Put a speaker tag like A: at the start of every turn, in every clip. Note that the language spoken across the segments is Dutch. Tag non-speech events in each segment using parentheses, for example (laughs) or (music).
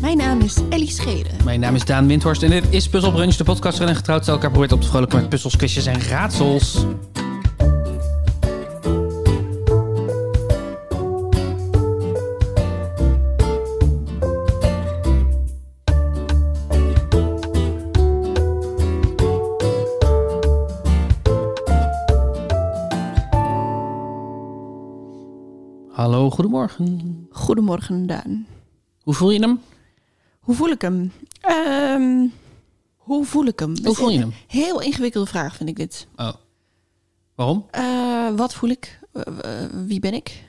A: Mijn naam is Ellie Schede.
B: Mijn naam is Daan Windhorst en dit is Puzzle Brunch, de podcast waarin een getrouwd stel elkaar probeert op te vrolijken met puzzels, quizjes en raadsels. Hallo, goedemorgen.
A: Goedemorgen, Daan.
B: Hoe voel je hem?
A: Hoe voel ik hem? Ehm, hoe voel ik hem?
B: Hoe voel je hem?
A: Heel ingewikkelde vraag vind ik dit.
B: Oh. Waarom?
A: Eh, wat voel ik? Eh, eh, wie ben ik?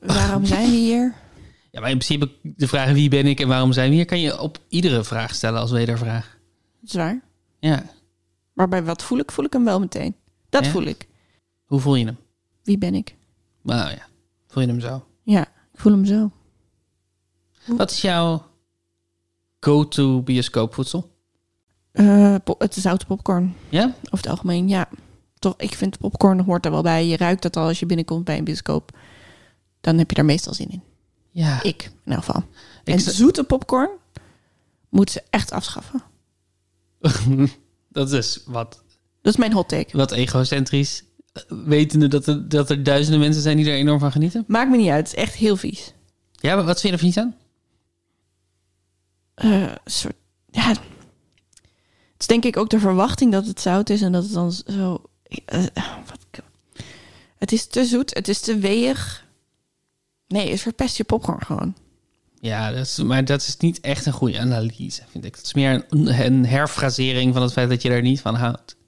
A: Waarom zijn we (laughs) hier?
B: Ja, maar in principe de vraag wie ben ik en waarom zijn we hier, kan je op iedere vraag stellen als wedervraag.
A: Zwaar.
B: Ja.
A: Maar bij wat voel ik, voel ik hem wel meteen. Dat
B: Ja?
A: voel ik.
B: Hoe voel je hem?
A: Wie ben ik?
B: Nou ja, voel je hem zo.
A: Ja, ik voel hem zo.
B: Wat is jouw go-to bioscoopvoedsel?
A: Eh, po- het is zoute popcorn.
B: Ja?
A: Over het algemeen, ja. Toch, ik vind popcorn hoort er wel bij. Je ruikt dat al als je binnenkomt bij een bioscoop. Dan heb je daar meestal zin in.
B: Ja.
A: Ik, in elk geval.
B: Ik
A: en
B: z-
A: zoete popcorn moeten ze echt afschaffen.
B: (laughs) dat is wat,
A: Dat is mijn hot take.
B: wat egocentrisch. eh, Wetende dat er, dat er duizenden mensen zijn die er enorm van genieten.
A: Maakt me niet uit. Het is echt heel vies.
B: Ja, maar wat vind je er niet aan?
A: Eh, soort, ja. Het is denk ik ook de verwachting dat het zout is en dat het dan zo... eh, wat, het is te zoet. Het is te weeg. Nee, het verpest je popcorn gewoon.
B: Ja, dat is, maar dat is niet echt een goede analyse, vind ik. Het is meer een, een herfrasering van het feit dat je er niet van houdt.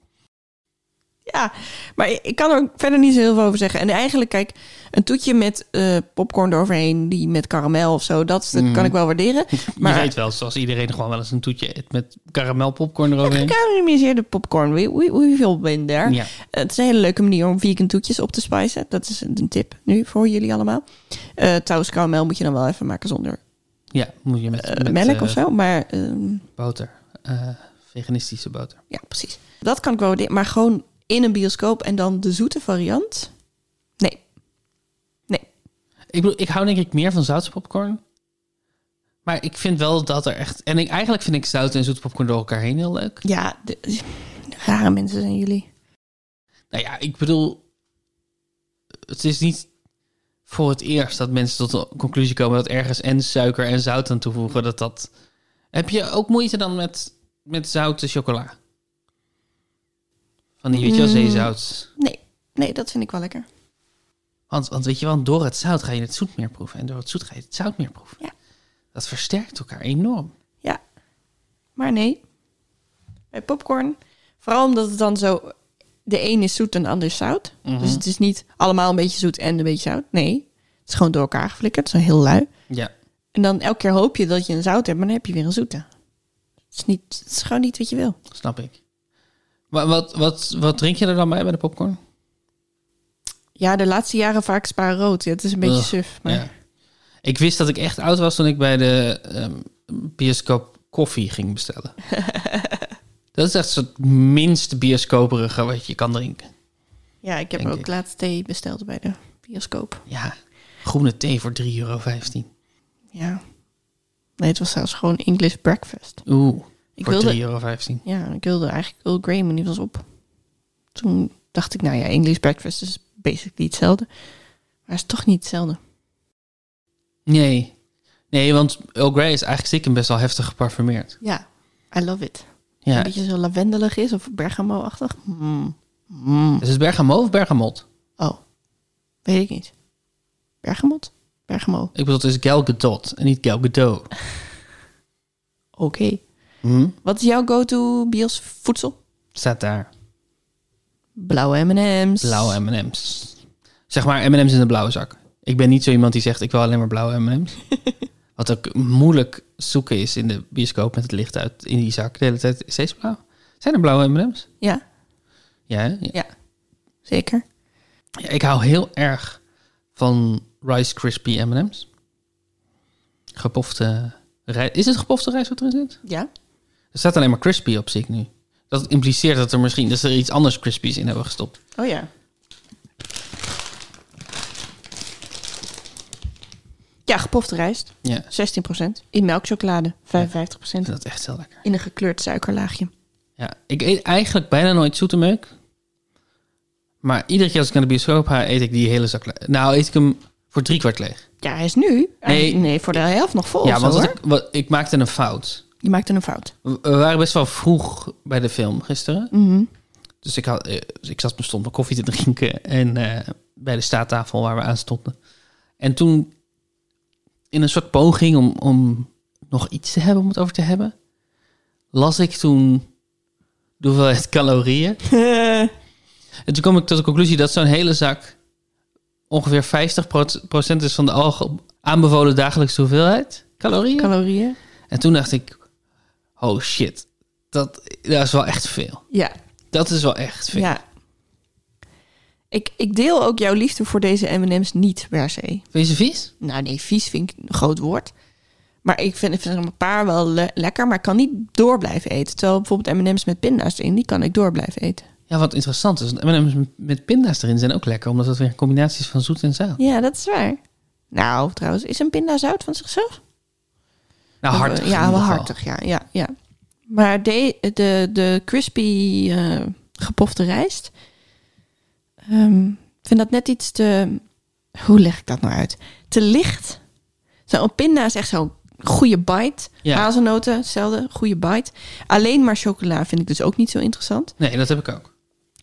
A: Ja, maar ik- ik kan er verder niet zo heel veel over zeggen. En eigenlijk, kijk, een toetje met eh, popcorn eroverheen, die met karamel of zo, dat, is- dat
B: Mm.
A: kan ik wel waarderen.
B: (laughs) je
A: Maar-
B: weet wel, zoals iedereen gewoon wel eens een toetje eet met karamel popcorn eroverheen.
A: Gecarameliseerde popcorn, we, we, we veel ben daar.
B: Ja.
A: Het is een hele leuke manier om vegan toetjes op te spijzen. Dat is een tip nu voor jullie allemaal. Eh trouwens, karamel moet je dan wel even maken zonder
B: ja, moet je met,
A: eh,
B: met
A: melk
B: eh,
A: of zo. Maar ehm,
B: boter. Eh, veganistische boter.
A: ja, precies. Dat kan ik wel waarderen. Maar gewoon in een bioscoop en dan de zoete variant. Nee. Nee.
B: Ik bedoel, ik hou denk ik meer van zoutse popcorn. Maar ik vind wel dat er echt... En ik, eigenlijk vind ik zout en zoete popcorn door elkaar heen heel leuk.
A: Ja, de- (laughs) rare mensen zijn jullie.
B: Nou ja, ik bedoel... Het is niet voor het eerst dat mensen tot de conclusie komen... dat ergens en suiker en zout aan toevoegen, dat dat... Heb je ook moeite dan met, met zoute chocola? Van die, weet je wel,
A: Mm.
B: zeezout.
A: Nee, nee, dat vind ik wel lekker.
B: Want, want weet je wel, door het zout ga je het zoet meer proeven. En door het zoet ga je het zout meer proeven.
A: Ja.
B: Dat versterkt elkaar enorm.
A: Ja, maar nee. Bij popcorn, vooral omdat het dan zo... De een is zoet en de ander is zout.
B: Mhm.
A: Dus het is niet allemaal een beetje zoet en een beetje zout. Nee, het is gewoon door elkaar geflikkerd. Zo heel lui.
B: Ja.
A: En dan elke keer hoop je dat je een zout hebt, maar dan heb je weer een zoete. Het is, niet, het is gewoon niet wat je wil.
B: Snap ik. Maar wat, wat, wat drink je er dan bij bij de popcorn?
A: Ja, de laatste jaren vaak spa rood. Ja, het is een beetje
B: Ugh,
A: suf. Maar
B: Ja. Ik wist dat ik echt oud was toen ik bij de ehm, bioscoop koffie
A: (laughs)
B: ging bestellen. dat is echt het minst bioscoperige wat je kan drinken.
A: ja, ik heb
B: Denk
A: ook
B: ik.
A: laatst thee besteld bij de bioscoop.
B: Ja, groene thee voor 3,15 euro.
A: Ja. Nee, het was zelfs gewoon English breakfast.
B: Oeh,
A: Ik
B: voor 3,15
A: wilde,
B: euro.
A: ja, ik wilde eigenlijk Earl Grey, maar die was op. Toen dacht ik, nou ja, English breakfast is basically hetzelfde. Maar het is toch niet hetzelfde.
B: Nee. Nee, want Earl Grey is eigenlijk stiekem best wel heftig geparfumeerd.
A: Ja, I love it. Een
B: Ja.
A: beetje zo lavendelig is of bergamo-achtig. Mm. Mm.
B: Is Dus het bergamo of bergamot?
A: Oh, weet ik niet. Bergamot? Bergamo.
B: Ik bedoel, het is Gal Gadot en niet Gal
A: (laughs)
B: Gadot.
A: Oké.
B: Hm?
A: Wat is jouw go-to bios voedsel?
B: Staat daar.
A: Blauwe M&M's.
B: Blauwe M&M's. Zeg maar M&M's in een blauwe zak. Ik ben niet zo iemand die zegt, ik wil alleen maar blauwe M&M's. Wat ook moeilijk zoeken is in de bioscoop met het licht uit in die zak. De hele tijd steeds blauw. Zijn er blauwe M&M's?
A: Ja,
B: Ja, hè? ja.
A: ja. Zeker.
B: Ja, Ik hou heel erg van Rice Krispie M&M's. Gepofte rijst. Is het gepofte rijst wat erin zit?
A: Ja.
B: Er staat alleen maar crispy op zich nu. Dat impliceert dat er misschien dat ze er iets anders crispies in hebben gestopt.
A: Oh ja. Ja, gepofte rijst,
B: Ja, ik
A: 16%. In melkchocolade, 55%.
B: vind dat echt heel lekker.
A: In een gekleurd suikerlaagje.
B: Ja, ik eet eigenlijk bijna nooit zoete meuk. Maar iedere keer als ik naar de bioscoop ga, eet ik die hele zak leeg. Nou, eet ik hem voor drie kwart leeg.
A: Ja, hij is nu. Nee,
B: Nee.
A: nee voor de helft nog vol.
B: ja,
A: Ja,
B: want
A: zo,
B: wat
A: hoor.
B: ik, wat, ik maakte een fout.
A: Je maakt een fout.
B: We we waren best wel vroeg bij de film gisteren.
A: Mhm. (laughs)
B: Dus ik, had, eh, dus ik zat me stond mijn koffie te drinken en eh, bij de staattafel waar we aan stonden. En toen, in een soort poging om, om nog iets te hebben, om het over te hebben, las ik toen de hoeveelheid calorieën. En toen kwam ik tot de conclusie dat zo'n hele zak ongeveer 50% is van de alge- aanbevolen dagelijkse hoeveelheid calorieën.
A: Calorieën.
B: en toen dacht ik, oh shit, dat, dat is wel echt veel.
A: Ja,
B: Dat is wel echt veel.
A: ja. Ik, ik deel ook jouw liefde voor deze M&M's niet per se.
B: Vind je ze vies?
A: Nou nee, vies vind ik een groot woord. Maar ik vind, ik vind er een paar wel le- lekker, maar ik kan niet door blijven eten. Terwijl bijvoorbeeld M&M's met pinda's erin, die kan ik door blijven eten.
B: Ja, wat interessant is, want M&M's met- met pinda's erin zijn ook lekker, omdat dat weer combinaties van zoet en zout.
A: Ja, dat is waar. Nou, trouwens, is een pinda zout van zichzelf?
B: Nou, hartig. in
A: Ja,
B: ieder
A: wel
B: geval.
A: hartig, ja. ja, ja. Maar de, de, de crispy eh, gepofte rijst... ehm, ik vind dat net iets te... Hoe leg ik dat nou uit? Te licht. Zo'n pinda is echt zo'n goede bite.
B: Ja.
A: Hazelnoten, hetzelfde, goede bite. Alleen maar chocola vind ik dus ook niet zo interessant.
B: Nee, dat heb ik ook.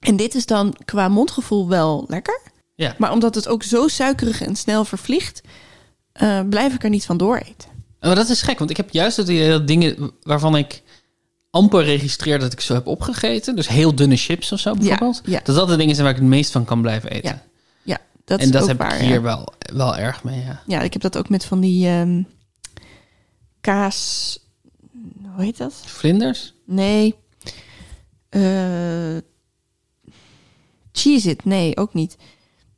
A: En dit is dan qua mondgevoel wel lekker.
B: Ja.
A: Maar omdat het ook zo suikerig en snel vervliegt... eh, blijf ik er niet van dooreten.
B: Maar dat is gek, want ik heb juist het idee dat dingen waarvan ik amper registreer dat ik ze heb opgegeten, dus heel dunne chips of zo bijvoorbeeld,
A: ja.
B: dat dat de dingen zijn waar ik het meest van kan blijven eten.
A: Ja, Ja, dat
B: en
A: is
B: dat
A: ook
B: heb
A: waar,
B: ik
A: ja.
B: hier wel, wel erg mee, ja.
A: Ja, ik heb dat ook met van die ehm, kaas. Hoe heet dat?
B: Vlinders?
A: Nee. Eh cheese it. Nee, ook niet.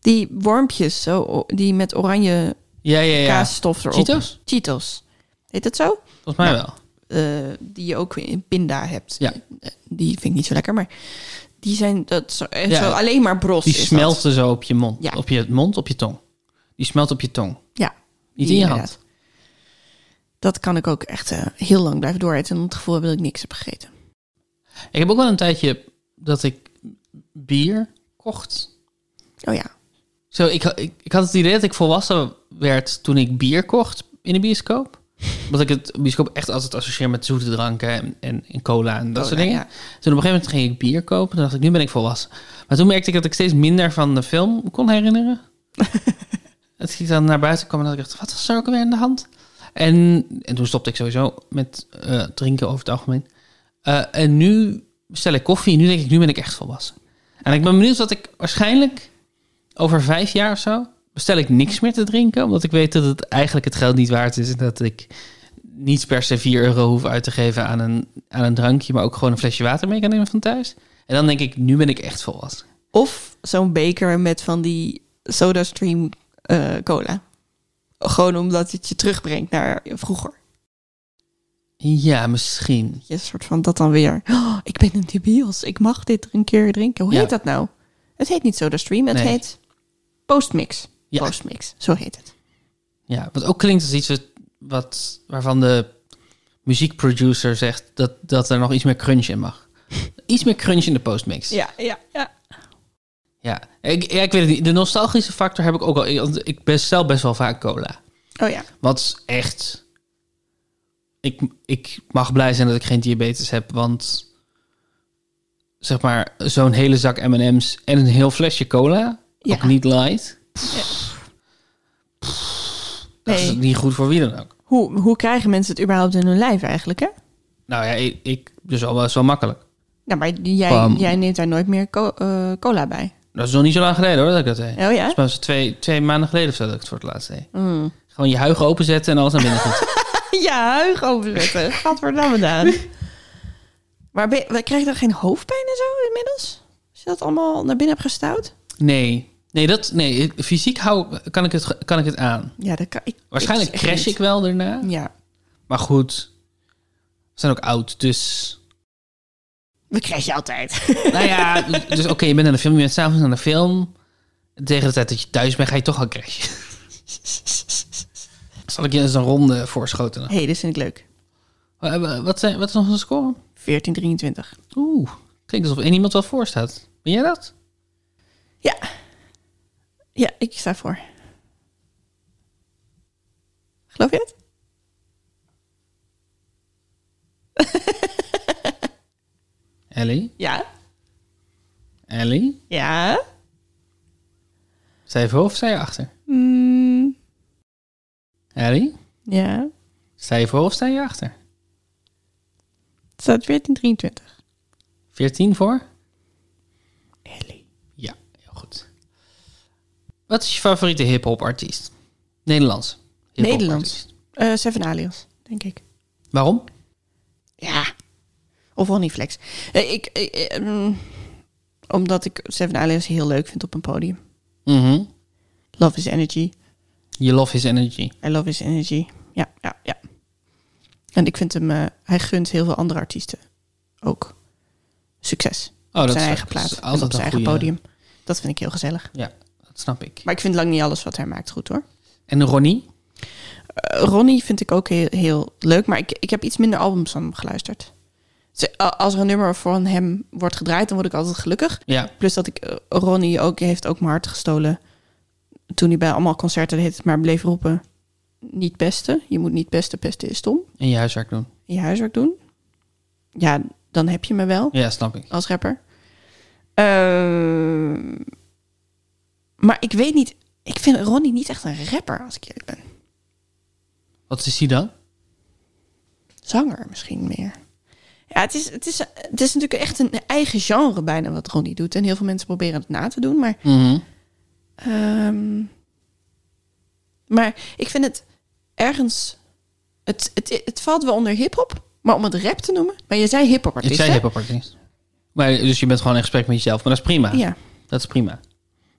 A: Die wormpjes, zo, o- die met oranje
B: Ja, ja, ja.
A: kaasstof erop.
B: Cheetos?
A: Cheetos. Heet dat zo?
B: Volgens mij wel.
A: Eh, die je ook in pinda hebt.
B: Ja.
A: Eh, Die vind ik niet zo lekker, maar die zijn dat zo, eh,
B: Ja,
A: zo alleen maar bros.
B: Die
A: is dat.
B: smelten zo op je mond.
A: Ja.
B: Op je mond, op je tong. Die smelt op je tong.
A: Ja. die
B: Niet in je
A: inderdaad.
B: hand.
A: Dat kan ik ook echt eh, heel lang blijven dooreten en het gevoel hebben dat ik niks heb gegeten.
B: Ik heb ook wel een tijdje dat ik bier kocht.
A: Oh ja.
B: Zo, ik, ha- ik, ik had het idee dat ik volwassen werd toen ik bier kocht in de
A: (laughs)
B: bioscoop. Omdat ik het bioscoop echt altijd associeer met zoete dranken en, en, en cola en dat
A: Cola,
B: soort dingen.
A: ja.
B: Toen op een gegeven moment ging ik bier kopen. Toen dacht ik, nu ben ik volwassen. Maar toen merkte ik dat ik steeds minder van de film kon herinneren. dat ik dan naar buiten kwam en dat ik dacht, wat was er ook weer aan de hand? En, en toen stopte ik sowieso met eh, drinken over het algemeen. Eh, en nu bestel ik koffie. Nu denk ik, nu ben ik echt volwassen. En ik ben benieuwd wat ik waarschijnlijk over vijf jaar of zo... bestel ik niks meer te drinken. Omdat ik weet dat het eigenlijk het geld niet waard is. En dat ik niet per se 4 euro hoef uit te geven aan een, aan een drankje... maar ook gewoon een flesje water mee kan nemen van thuis. En dan denk ik, nu ben ik echt volwassen.
A: Of zo'n beker met van die SodaStream eh cola. Gewoon omdat het je terugbrengt naar vroeger.
B: Ja, misschien.
A: Je soort van dat dan weer. "Oh, ik ben een debiels. Ik mag dit een keer drinken. Hoe
B: Ja.
A: heet dat nou? Het heet niet SodaStream. Het
B: Nee.
A: heet Postmix.
B: Ja.
A: Postmix. Zo heet het.
B: Ja, wat ook klinkt als iets wat, wat, waarvan de muziekproducer zegt... Dat, dat er nog iets meer crunch in mag. (laughs) Iets meer crunch in de postmix.
A: Ja, ja, ja.
B: Ja, ik, ja, ik weet het niet. De nostalgische factor heb ik ook al. Ik- want Ik bestel best wel vaak cola.
A: Oh ja.
B: Wat is echt... Ik, ik mag blij zijn dat ik geen diabetes heb, want... Zeg maar, zo'n hele zak M&M's en een heel flesje cola.
A: Ja.
B: Ook niet light. Dat is
A: Nee.
B: niet goed voor wie dan ook.
A: Hoe, hoe krijgen mensen het überhaupt in hun lijf eigenlijk, hè?
B: Nou ja, ik, ik dus al wel zo makkelijk.
A: Nou, maar jij,
B: Bam.
A: jij neemt daar nooit meer co- eh, cola bij.
B: Dat is nog niet zo lang geleden hoor, dat ik dat deed.
A: Oh ja?
B: (laughs) Volgens mij was het twee, twee maanden geleden of zo dat ik het voor het laatst deed.
A: Mm.
B: Gewoon je huigen openzetten en alles naar binnen goed.
A: Ja, huig overzetten. Gadverdamme Daan. Maar ben, je- krijg je dan geen hoofdpijn en zo inmiddels? Als je dat allemaal naar binnen hebt gestouwd?
B: (laughs) Nee. Nee, dat, nee, ik- fysiek hou, kan, ik het, kan ik het aan.
A: Ja, dat kan ik.
B: Waarschijnlijk
A: ik-
B: crash ik wel daarna.
A: Ja,
B: Maar goed, we zijn ook oud, dus...
A: we crashen
B: (laughs)
A: altijd. (laughs)
B: Nou ja, dus oké, je bent aan de film, je bent s'avonds aan de film. Tegen de tijd dat je thuis bent, ga je toch al crashen. (laughs) Zal ik je eens een ronde voorschoten?
A: Hé, hey, dit vind ik leuk.
B: Eh, Wat, zijn, wat is nog een score?
A: 1423.
B: Oeh, klinkt alsof één iemand wel voor staat. Ben jij dat?
A: Ja. Ja, ik sta voor. Geloof je het?
B: Ellie?
A: Ja.
B: Ellie?
A: Ja.
B: Zij voor of zij achter?
A: Mm,
B: Ellie?
A: ja.
B: Sta je voor of sta je achter?
A: Het staat 1423.
B: 14 voor?
A: Ellie.
B: Ja, heel goed. Wat is je favoriete hip-hop artiest? Nederlands. hip-hop
A: Nederlands.
B: artiest.
A: Eh Seven Alias, denk ik.
B: Waarom?
A: Ja. Of Oniflex. Eh, ik, eh, eh, mm, omdat ik Seven Alias heel leuk vind op een podium.
B: Mhm.
A: Love is energy.
B: You love his energy.
A: I love his energy. Ja, ja, ja. En ik vind hem... eh, hij gunt heel veel andere artiesten ook succes.
B: Oh,
A: op zijn
B: dat is-
A: eigen
B: dat is
A: plaats en
B: altijd
A: op
B: een
A: zijn eigen
B: goeie-
A: podium. Dat vind ik heel gezellig.
B: Ja, dat snap ik.
A: Maar ik vind lang niet alles wat hij maakt goed hoor.
B: En Ronnie?
A: Eh, Ronnie vind ik ook heel, heel leuk, maar ik, ik heb iets minder albums van hem geluisterd. Ze- a- Als er een nummer van hem wordt gedraaid, dan word ik altijd gelukkig.
B: Ja.
A: Plus dat ik eh, Ronnie ook heeft ook mijn hart gestolen. Toen hij bij allemaal concerten deed, maar bleef roepen: niet pesten. Je moet niet pesten, pesten is stom.
B: En je huiswerk doen.
A: Je huiswerk doen. Ja, dan heb je me wel.
B: Ja, snap ik.
A: als rapper. Ehm, maar ik weet niet. Ik vind Ronnie niet echt een rapper, als ik eerlijk ben.
B: Wat is hij dan?
A: Zanger misschien meer. Ja, het is, het is, het is natuurlijk echt een eigen genre bijna wat Ronnie doet. En heel veel mensen proberen het na te doen. Maar,
B: Mhm.
A: ehm, maar ik vind het ergens... Het, het, het valt wel onder hip-hop. Maar om het rap te noemen. Maar je zei hip-hop
B: Ik
A: artiest.
B: zei
A: hè?
B: hip-hop artiest. Maar dus je bent gewoon in gesprek met jezelf. Maar dat is prima.
A: Ja. (laughs)
B: Dat is prima.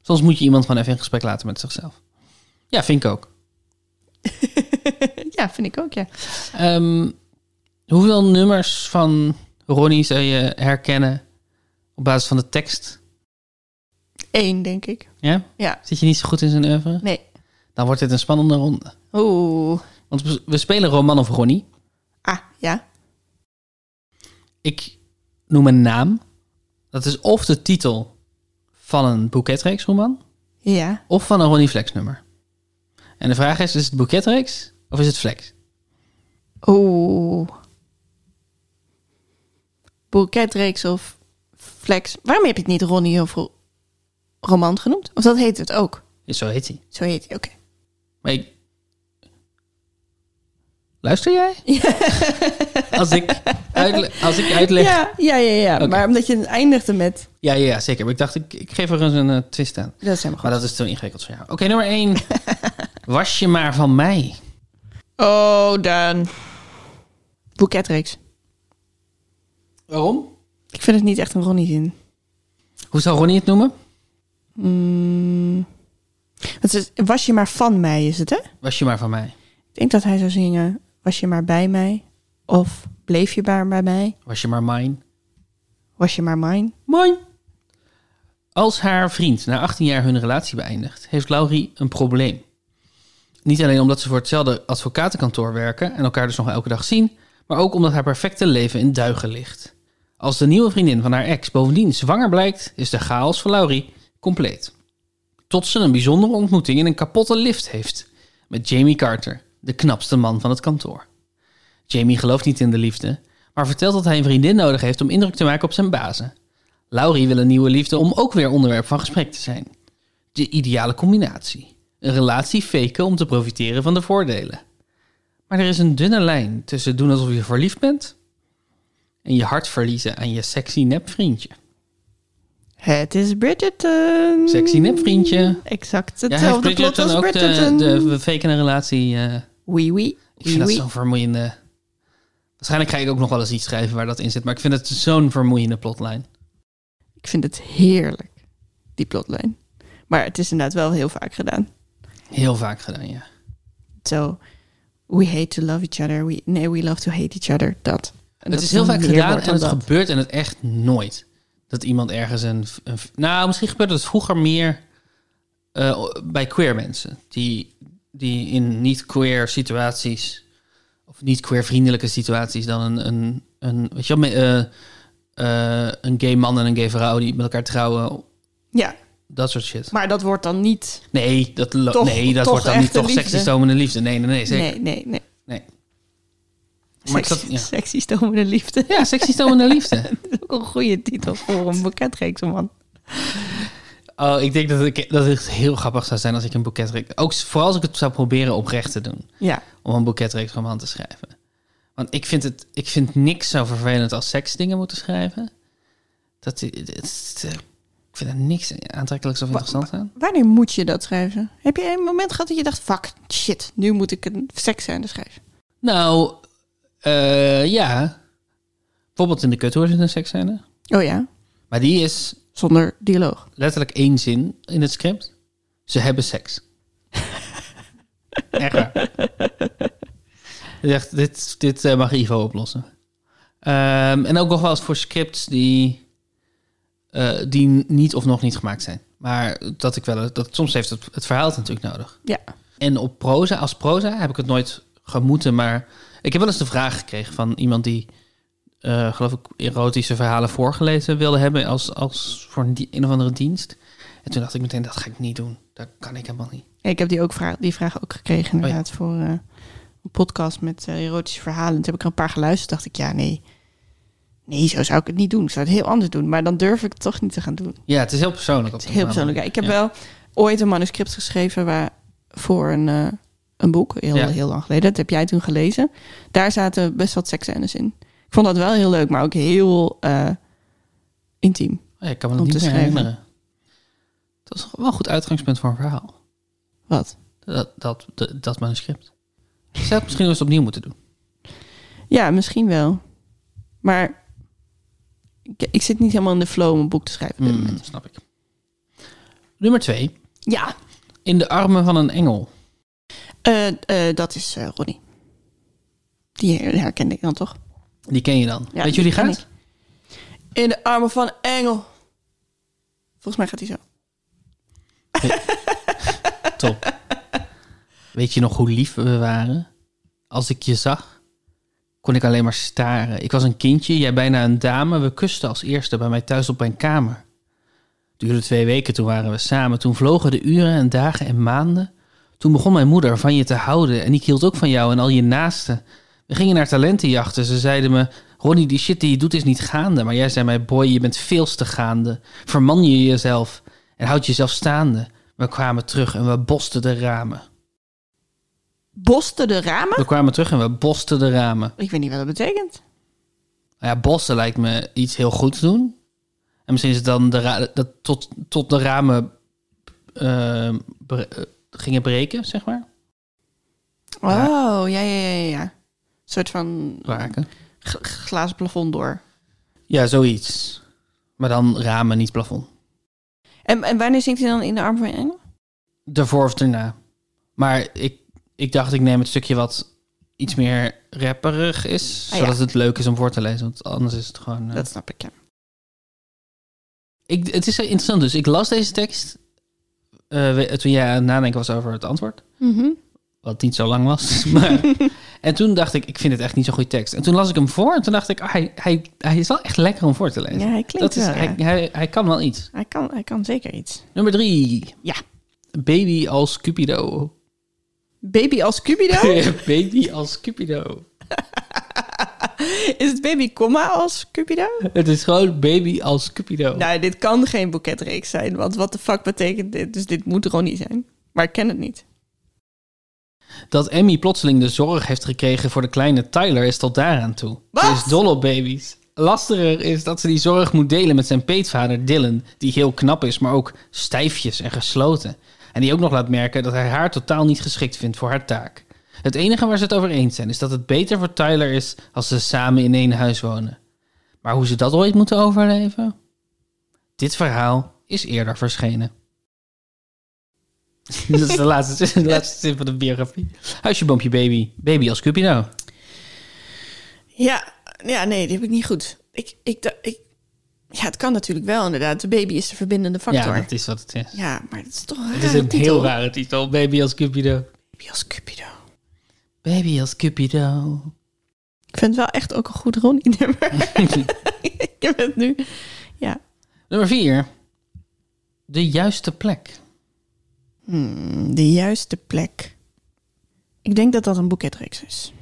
B: Soms moet je iemand gewoon even in gesprek laten met zichzelf. Ja, vind ik ook.
A: ja, vind ik ook, ja.
B: Ehm, hoeveel nummers van Ronnie zou je herkennen op basis van de tekst?
A: Eén, denk ik.
B: Ja?
A: Ja.
B: Zit je niet zo goed in zijn oeuvre?
A: Nee.
B: Dan wordt dit een spannende ronde.
A: Oeh.
B: Want we- we spelen Roman of Ronnie.
A: Ah, ja.
B: Ik noem een naam. Dat is of de titel van een boeketreeksroman
A: Ja.
B: of van een Ronnie Flex nummer. En de vraag is, is het boeketreeks of is het Flex?
A: Oeh. Boeketreeks of flex. Waarom heb je het niet Ronnie of Ro- Roman genoemd? Of dat heet het ook?
B: Zo heet hij.
A: Zo heet hij, oké.
B: Maar ik... Luister (laughs) jij? als, ik uitle- als ik uitleg... Ja.
A: Ja, ja, ja. ja.
B: Oké.
A: Maar omdat je het eindigde met...
B: Ja, ja, zeker. Maar ik dacht, ik, ik geef er eens een eh, twist aan.
A: Dat is helemaal
B: Maar
A: goed.
B: dat is te ingewikkeld voor jou. Oké, nummer (laughs) 1. Was je maar van mij.
A: Oh, dan. Boeketreeks.
B: Waarom?
A: Ik vind het niet echt een Ronnie zin.
B: Hoe zou Ronnie het noemen?
A: Mm. Het is, was je maar van mij, is het, hè?
B: Was je maar van mij.
A: Ik denk dat hij zou zingen... Was je maar bij mij? Of bleef je maar bij mij?
B: Was je maar mine.
A: Was je maar mine?
B: Mine. Als haar vriend na 18 jaar hun relatie beëindigt, heeft Laurie een probleem. Niet alleen omdat ze voor hetzelfde advocatenkantoor werken en elkaar dus nog elke dag zien, maar ook omdat haar perfecte leven in duigen ligt. Als de nieuwe vriendin van haar ex bovendien zwanger blijkt, is de chaos voor Laurie compleet. Tot ze een bijzondere ontmoeting in een kapotte lift heeft met Jamie Carter, de knapste man van het kantoor. Jamie gelooft niet in de liefde, maar vertelt dat hij een vriendin nodig heeft om indruk te maken op zijn bazen. Laurie wil een nieuwe liefde om ook weer onderwerp van gesprek te zijn. De ideale combinatie. Een relatie faken om te profiteren van de voordelen. Maar er is een dunne lijn tussen doen alsof je verliefd bent en je hart verliezen aan je sexy nepvriendje.
A: Het is Bridgerton.
B: Sexy nepvriendje.
A: Exact
B: Ja, heeft
A: hetzelfde plot
B: Bridgerton
A: als
B: ook
A: Bridgerton.
B: de, de we faken een relatie? eh,
A: Oui, oui. Oui,
B: ik vind dat
A: oui.
B: zo'n vermoeiende... Waarschijnlijk ga ik ook nog wel eens iets schrijven waar dat in zit, maar ik vind het zo'n vermoeiende plotlijn.
A: Ik vind het heerlijk, die plotlijn. Maar het is inderdaad wel heel vaak gedaan.
B: Heel vaak gedaan, ja.
A: Zo, we hate to love each other. We, nee, we love to hate each other. Dat. En dat
B: het is heel vaak
A: meer
B: gedaan
A: wordt
B: en
A: dan
B: het
A: dat.
B: gebeurt en het echt nooit. Dat iemand ergens een... een- nou, misschien gebeurde het vroeger meer eh, bij queer mensen. Die die in niet-queer situaties of niet-queer vriendelijke situaties dan een, een, een weet je wel, me- eh, eh, een gay man en een gay vrouw die met elkaar trouwen,
A: Ja,
B: dat soort shit.
A: maar dat wordt dan niet...
B: Nee, dat, lo-
A: Toch-
B: nee, dat
A: toch
B: wordt dan niet
A: echte
B: toch
A: liefde.
B: seksistomende liefde. Nee, nee, nee, zeker.
A: Nee, nee, nee.
B: Nee. Maar ik
A: Sexy,
B: zat- ja.
A: sexy stomende liefde.
B: Ja, seksistomende
A: (laughs)
B: liefde.
A: Dat is ook een goede titel voor een boeketreekse man.
B: Oh, ik denk dat, ik, dat het heel grappig zou zijn als ik een boeketreeks... Ook s- vooral als ik het zou proberen oprecht te doen.
A: Ja,
B: Om een boeketreeksroman te schrijven. Want ik vind, het, ik vind niks zo vervelend als seksdingen moeten schrijven. Dat, i- het, is, eh, ik vind er niks aantrekkelijks of
A: Wa-
B: interessants aan.
A: wanneer moet je dat schrijven? Heb je een moment gehad dat je dacht, fuck, shit, nu moet ik een seksscène schrijven?
B: Nou, eh, ja. Bijvoorbeeld in De Kuthoor zit een seksscène.
A: Oh ja,
B: Maar die is
A: zonder dialoog.
B: letterlijk één zin in het script. Ze hebben seks. Echt waar. Hij Zegt, dit, dit eh, mag Ivo oplossen. Ehm, en ook nog wel eens voor scripts die, eh, die niet of nog niet gemaakt zijn. Maar dat ik wel, dat, soms heeft het, het verhaal het natuurlijk nodig.
A: Ja.
B: En op proza, als proza heb ik het nooit gemoeten, maar ik heb wel eens de vraag gekregen van iemand die, eh, geloof ik, erotische verhalen voorgelezen wilde hebben als, als voor een, di- een of andere dienst. En toen dacht ik meteen, dat ga ik niet doen. Dat kan ik helemaal niet.
A: Ja, Ik heb die, ook vraag, die vraag ook gekregen inderdaad voor eh, een podcast met eh, erotische verhalen. En toen heb ik er een paar geluisterd. dacht ik, ja, nee. Nee, zo zou ik het niet doen. Ik zou het heel anders doen. Maar dan durf ik het toch niet te gaan doen.
B: Ja, het is heel persoonlijk. Op
A: Het is heel persoonlijk. Ja, ik heb wel ooit een manuscript geschreven waar, voor een, eh, een boek. Heel,
B: Ja.
A: heel lang geleden. Dat heb jij toen gelezen. Daar zaten best wat seksscènes in. Ik vond dat wel heel leuk, maar ook heel eh, intiem.
B: Oh ja, ik kan me dat
A: om
B: niet
A: te
B: meer
A: schrijven.
B: herinneren. Dat is wel een goed uitgangspunt voor een verhaal.
A: Wat?
B: Dat, dat, dat, dat manuscript. Ik zou het misschien eens opnieuw moeten doen.
A: Ja, misschien wel. Maar ik, ik zit niet helemaal in de flow om een boek te schrijven op dit moment.
B: Mm, snap ik. Nummer twee.
A: Ja,
B: In de armen van een engel.
A: eh, eh, dat is eh, Ronnie. Die herkende ik dan toch?
B: Die ken je dan.
A: Ja,
B: Weet je hoe die
A: die ken
B: gaat?
A: In de armen van een engel. Volgens mij gaat hij zo. (laughs)
B: Top. Weet je nog hoe lief we waren? Als ik je zag, kon ik alleen maar staren. Ik was een kindje, jij bijna een dame. We kusten als eerste bij mij thuis op mijn kamer. Duurde twee weken, toen waren we samen. Toen vlogen de uren en dagen en maanden. Toen begon mijn moeder van je te houden. En ik hield ook van jou en al je naasten. We gingen naar talentenjachten. Ze zeiden me, Ronnie, die shit die je doet is niet gaande. Maar jij zei mij, boy, je bent veel te gaande. Verman je jezelf en houd jezelf staande. We kwamen terug en we bosten de ramen.
A: Bosten de ramen?
B: We kwamen terug en we bosten de ramen.
A: Ik weet niet wat dat betekent.
B: Nou ja, bossen lijkt me iets heel goed te doen. En misschien is het dan de ra- dat tot, tot de ramen eh, bre- eh, gingen breken, zeg maar.
A: Oh, ja, ja, ja, ja. Een soort van
B: Raken.
A: g- g- glazen plafond door.
B: Ja, zoiets. Maar dan ramen, niet plafond.
A: En, en wanneer zingt hij dan in de armen van een engel?
B: Daarvoor of daarna. Maar ik, ik dacht, ik neem het stukje wat iets meer rapperig is.
A: Ah, ja.
B: zodat het leuk is om voor te lezen. Want anders is het gewoon... eh,
A: Dat snap ik, ja.
B: Ik, het is interessant dus. Ik las deze tekst eh, we- toen jij aan het nadenken was over het antwoord. Wat niet zo lang was. (laughs) Maar, en toen dacht ik, ik vind het echt niet zo'n goede tekst. En toen las ik hem voor en toen dacht ik, ah, hij, hij, hij is wel echt lekker om voor te lezen.
A: Ja, hij klinkt
B: Dat is,
A: wel,
B: hij,
A: ja.
B: hij, hij kan wel iets.
A: Hij kan, hij kan zeker iets.
B: Nummer drie.
A: Ja.
B: Baby als Cupido. (laughs)
A: Baby als Cupido?
B: Baby als Cupido.
A: Is het baby comma als Cupido?
B: Het is gewoon baby als Cupido.
A: Nou, dit kan geen boeketreeks zijn, want wat de fuck betekent dit? Dus dit moet Ronnie zijn. Maar ik ken het niet.
B: Dat Emmy plotseling de zorg heeft gekregen voor de kleine Tyler is tot daaraan toe.
A: Wat?
B: Ze is dol op baby's. Lastiger is dat ze die zorg moet delen met zijn peetvader Dylan, die heel knap is, maar ook stijfjes en gesloten. En die ook nog laat merken dat hij haar totaal niet geschikt vindt voor haar taak. Het enige waar ze het over eens zijn is dat het beter voor Tyler is als ze samen in één huis wonen. Maar hoe ze dat ooit moeten overleven? Dit verhaal is eerder verschenen. (laughs) dat is de laatste, de laatste zin van de biografie. Huisje, boompje, baby. Baby als Cupido.
A: Ja, ja nee, die heb ik niet goed. Ik, ik, da- ik, ja, het kan natuurlijk wel inderdaad. De baby is de verbindende factor.
B: Ja,
A: Ja,
B: dat is wat het is.
A: maar dat is toch een
B: Het is
A: rare
B: een
A: titel.
B: heel rare titel. Baby als Cupido.
A: Baby als Cupido.
B: Baby als Cupido.
A: Ik vind het wel echt ook een goed
B: (laughs)
A: Ronnie-nummer. (laughs) ik heb het nu. Ja.
B: Nummer 4. De juiste plek.
A: Hmm, de juiste plek. Ik denk dat dat een boeketreeks is.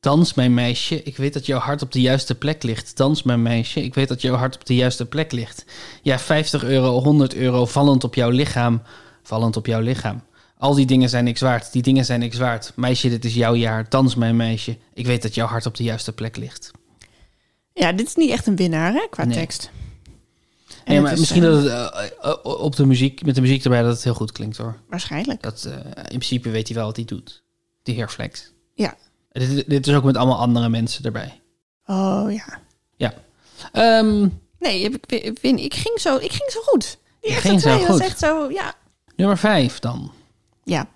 B: Dans, mijn meisje, ik weet dat jouw hart op de juiste plek ligt. Dans, mijn meisje, ik weet dat jouw hart op de juiste plek ligt. Ja, 50 euro, 100 euro, vallend op jouw lichaam, vallend op jouw lichaam. Al die dingen zijn niks waard, die dingen zijn niks waard. Meisje, dit is jouw jaar. Dans, mijn meisje, ik weet dat jouw hart op de juiste plek ligt.
A: Ja, dit is niet echt een winnaar hè, qua
B: Nee.
A: tekst. En
B: Nee,
A: het
B: maar
A: is,
B: misschien
A: eh,
B: dat het eh, eh, op de muziek, met de muziek erbij, dat het heel goed klinkt hoor.
A: Waarschijnlijk.
B: Dat, eh, in principe weet hij wel wat hij doet. Die heer Flex.
A: Ja.
B: Dit, dit is ook met allemaal andere mensen erbij.
A: Oh ja.
B: Ehm,
A: Nee, heb ik, wi- win, ik, ging zo, ik ging zo goed. Die
B: Je
A: eerste
B: ging zo
A: twee was
B: goed.
A: echt zo, ja.
B: nummer 5 dan.
A: Ja,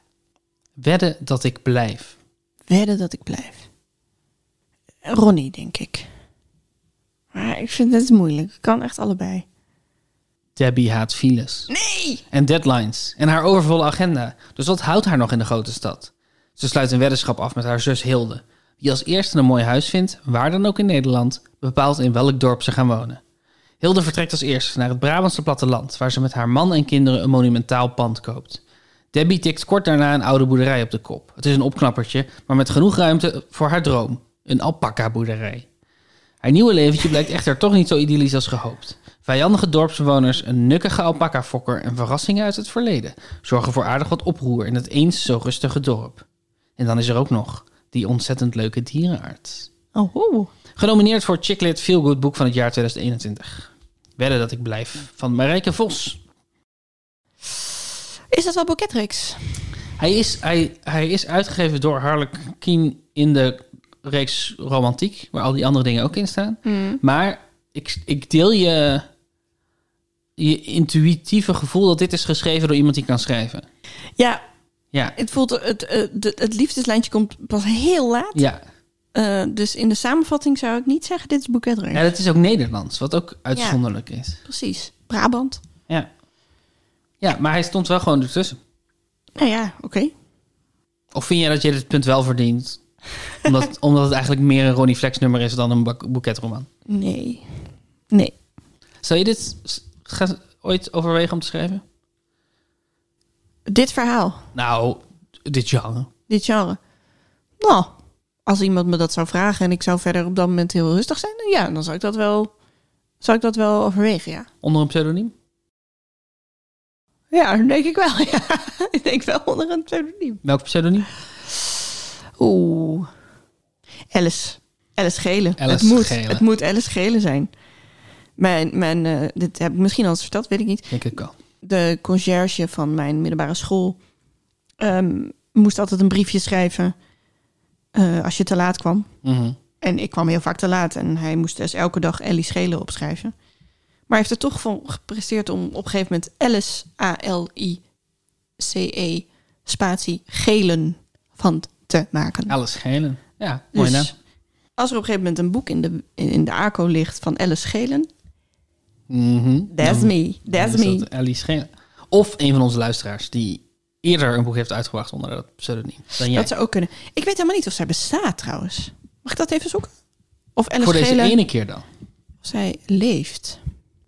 B: Wedden dat ik blijf.
A: wedden dat ik blijf. Ronnie, denk ik. Maar ik vind het moeilijk. Ik kan echt allebei.
B: Debbie haat files.
A: Nee!
B: En deadlines. En haar overvolle agenda. Dus wat houdt haar nog in de grote stad? Ze sluit een weddenschap af met haar zus Hilde. Die als eerste een mooi huis vindt, waar dan ook in Nederland, bepaalt in welk dorp ze gaan wonen. Hilde vertrekt als eerste naar het Brabantse platteland, waar ze met haar man en kinderen een monumentaal pand koopt. Debbie tikt kort daarna een oude boerderij op de kop. Het is een opknappertje, maar met genoeg ruimte voor haar droom: een alpaca-boerderij. Haar nieuwe leventje blijkt echter toch niet zo idyllisch als gehoopt. Vijandige dorpsbewoners, een nukkige alpaca-fokker en verrassingen uit het verleden zorgen voor aardig wat oproer in het eens zo rustige dorp. En dan is er ook nog die ontzettend leuke dierenarts.
A: Oh, hoe.
B: Genomineerd voor Chicklit Feel Good Boek van het jaar 2021. Wedden dat ik blijf van Marijke Vos.
A: Is dat wel boeketreeks?
B: Hij is, hij, hij is uitgegeven door Harlequin in de reeks Romantiek, waar al die andere dingen ook in staan. Maar ik, ik deel je, je intuïtieve gevoel dat dit is geschreven door iemand die kan schrijven.
A: Ja,
B: Ja,
A: het, voelt, het, eh, de- het liefdeslijntje komt pas heel laat.
B: ja.
A: Eh, dus in de samenvatting zou ik niet zeggen, dit is boeketreeks.
B: ja dat is ook Nederlands, wat ook uitzonderlijk is.
A: Precies. Brabant.
B: Ja. ja, maar hij stond wel gewoon ertussen.
A: Nou ja, oké.
B: Of vind jij dat je dit punt wel verdient? Omdat, omdat het eigenlijk meer een Ronnie Flex nummer is dan een bak- boeketroman.
A: Nee. Nee.
B: Zou je dit s- gaan- ooit overwegen om te schrijven?
A: Dit verhaal,
B: Nou, dit genre.
A: dit genre. Nou, als iemand me dat zou vragen en ik zou verder op dat moment heel rustig zijn, dan ja, dan zou ik dat wel, zou ik dat wel overwegen, ja.
B: Onder een pseudoniem?
A: Ja, dat denk ik wel. (laughs) Ja. ik denk wel onder een pseudoniem.
B: Welk pseudoniem?
A: Oeh. Alice. Alice Gele.
B: Alice
A: het moet,
B: Gele.
A: Het moet Alice Gele zijn. Mijn, mijn, eh, dit heb ik misschien al eens verteld, weet ik niet.
B: Denk ik al.
A: de conciërge van mijn middelbare school ehm, moest altijd een briefje schrijven eh, als je te laat kwam.
B: Mhm.
A: En ik kwam heel vaak te laat en hij moest dus elke dag Ellie Schelen opschrijven. Maar hij heeft er toch van gepresteerd om op een gegeven moment Alice, A-L-I-C-E, E, spatie, gelen van te maken.
B: Alice Gelen. Ja, Nou, mooi naam.
A: Dus als er op een gegeven moment een boek in de, in de ACO ligt van Alice Gelen,
B: Mhm.
A: that's
B: Dan-
A: me, that's
B: dan is
A: me.
B: dat Alice Schelen. Of een van onze luisteraars die eerder een boek heeft uitgebracht onder dat pseudoniem. Dan jij.
A: Dat zou ook kunnen. Ik weet helemaal niet of zij bestaat trouwens. Mag ik dat even zoeken? Of Alice
B: Voor deze
A: Gele,
B: ene keer dan.
A: of zij leeft.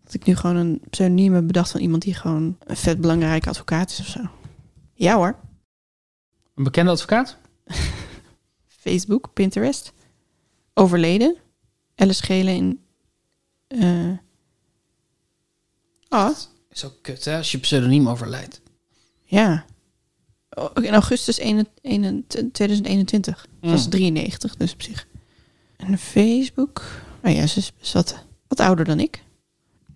A: Dat ik nu gewoon een pseudoniem heb bedacht van iemand die gewoon een vet belangrijke advocaat is of zo. Ja hoor.
B: Een bekende advocaat?
A: Facebook, Pinterest. Overleden. Alice Gele in... eh, Ah,
B: Is ook kut hè, als je pseudoniem overlijdt.
A: ja. Oh, oké, In augustus 1, 1, 2021. Dat was
B: Mm.
A: 93, dus op zich. En Facebook. Nou ja, ze is ze is wat, wat ouder dan ik.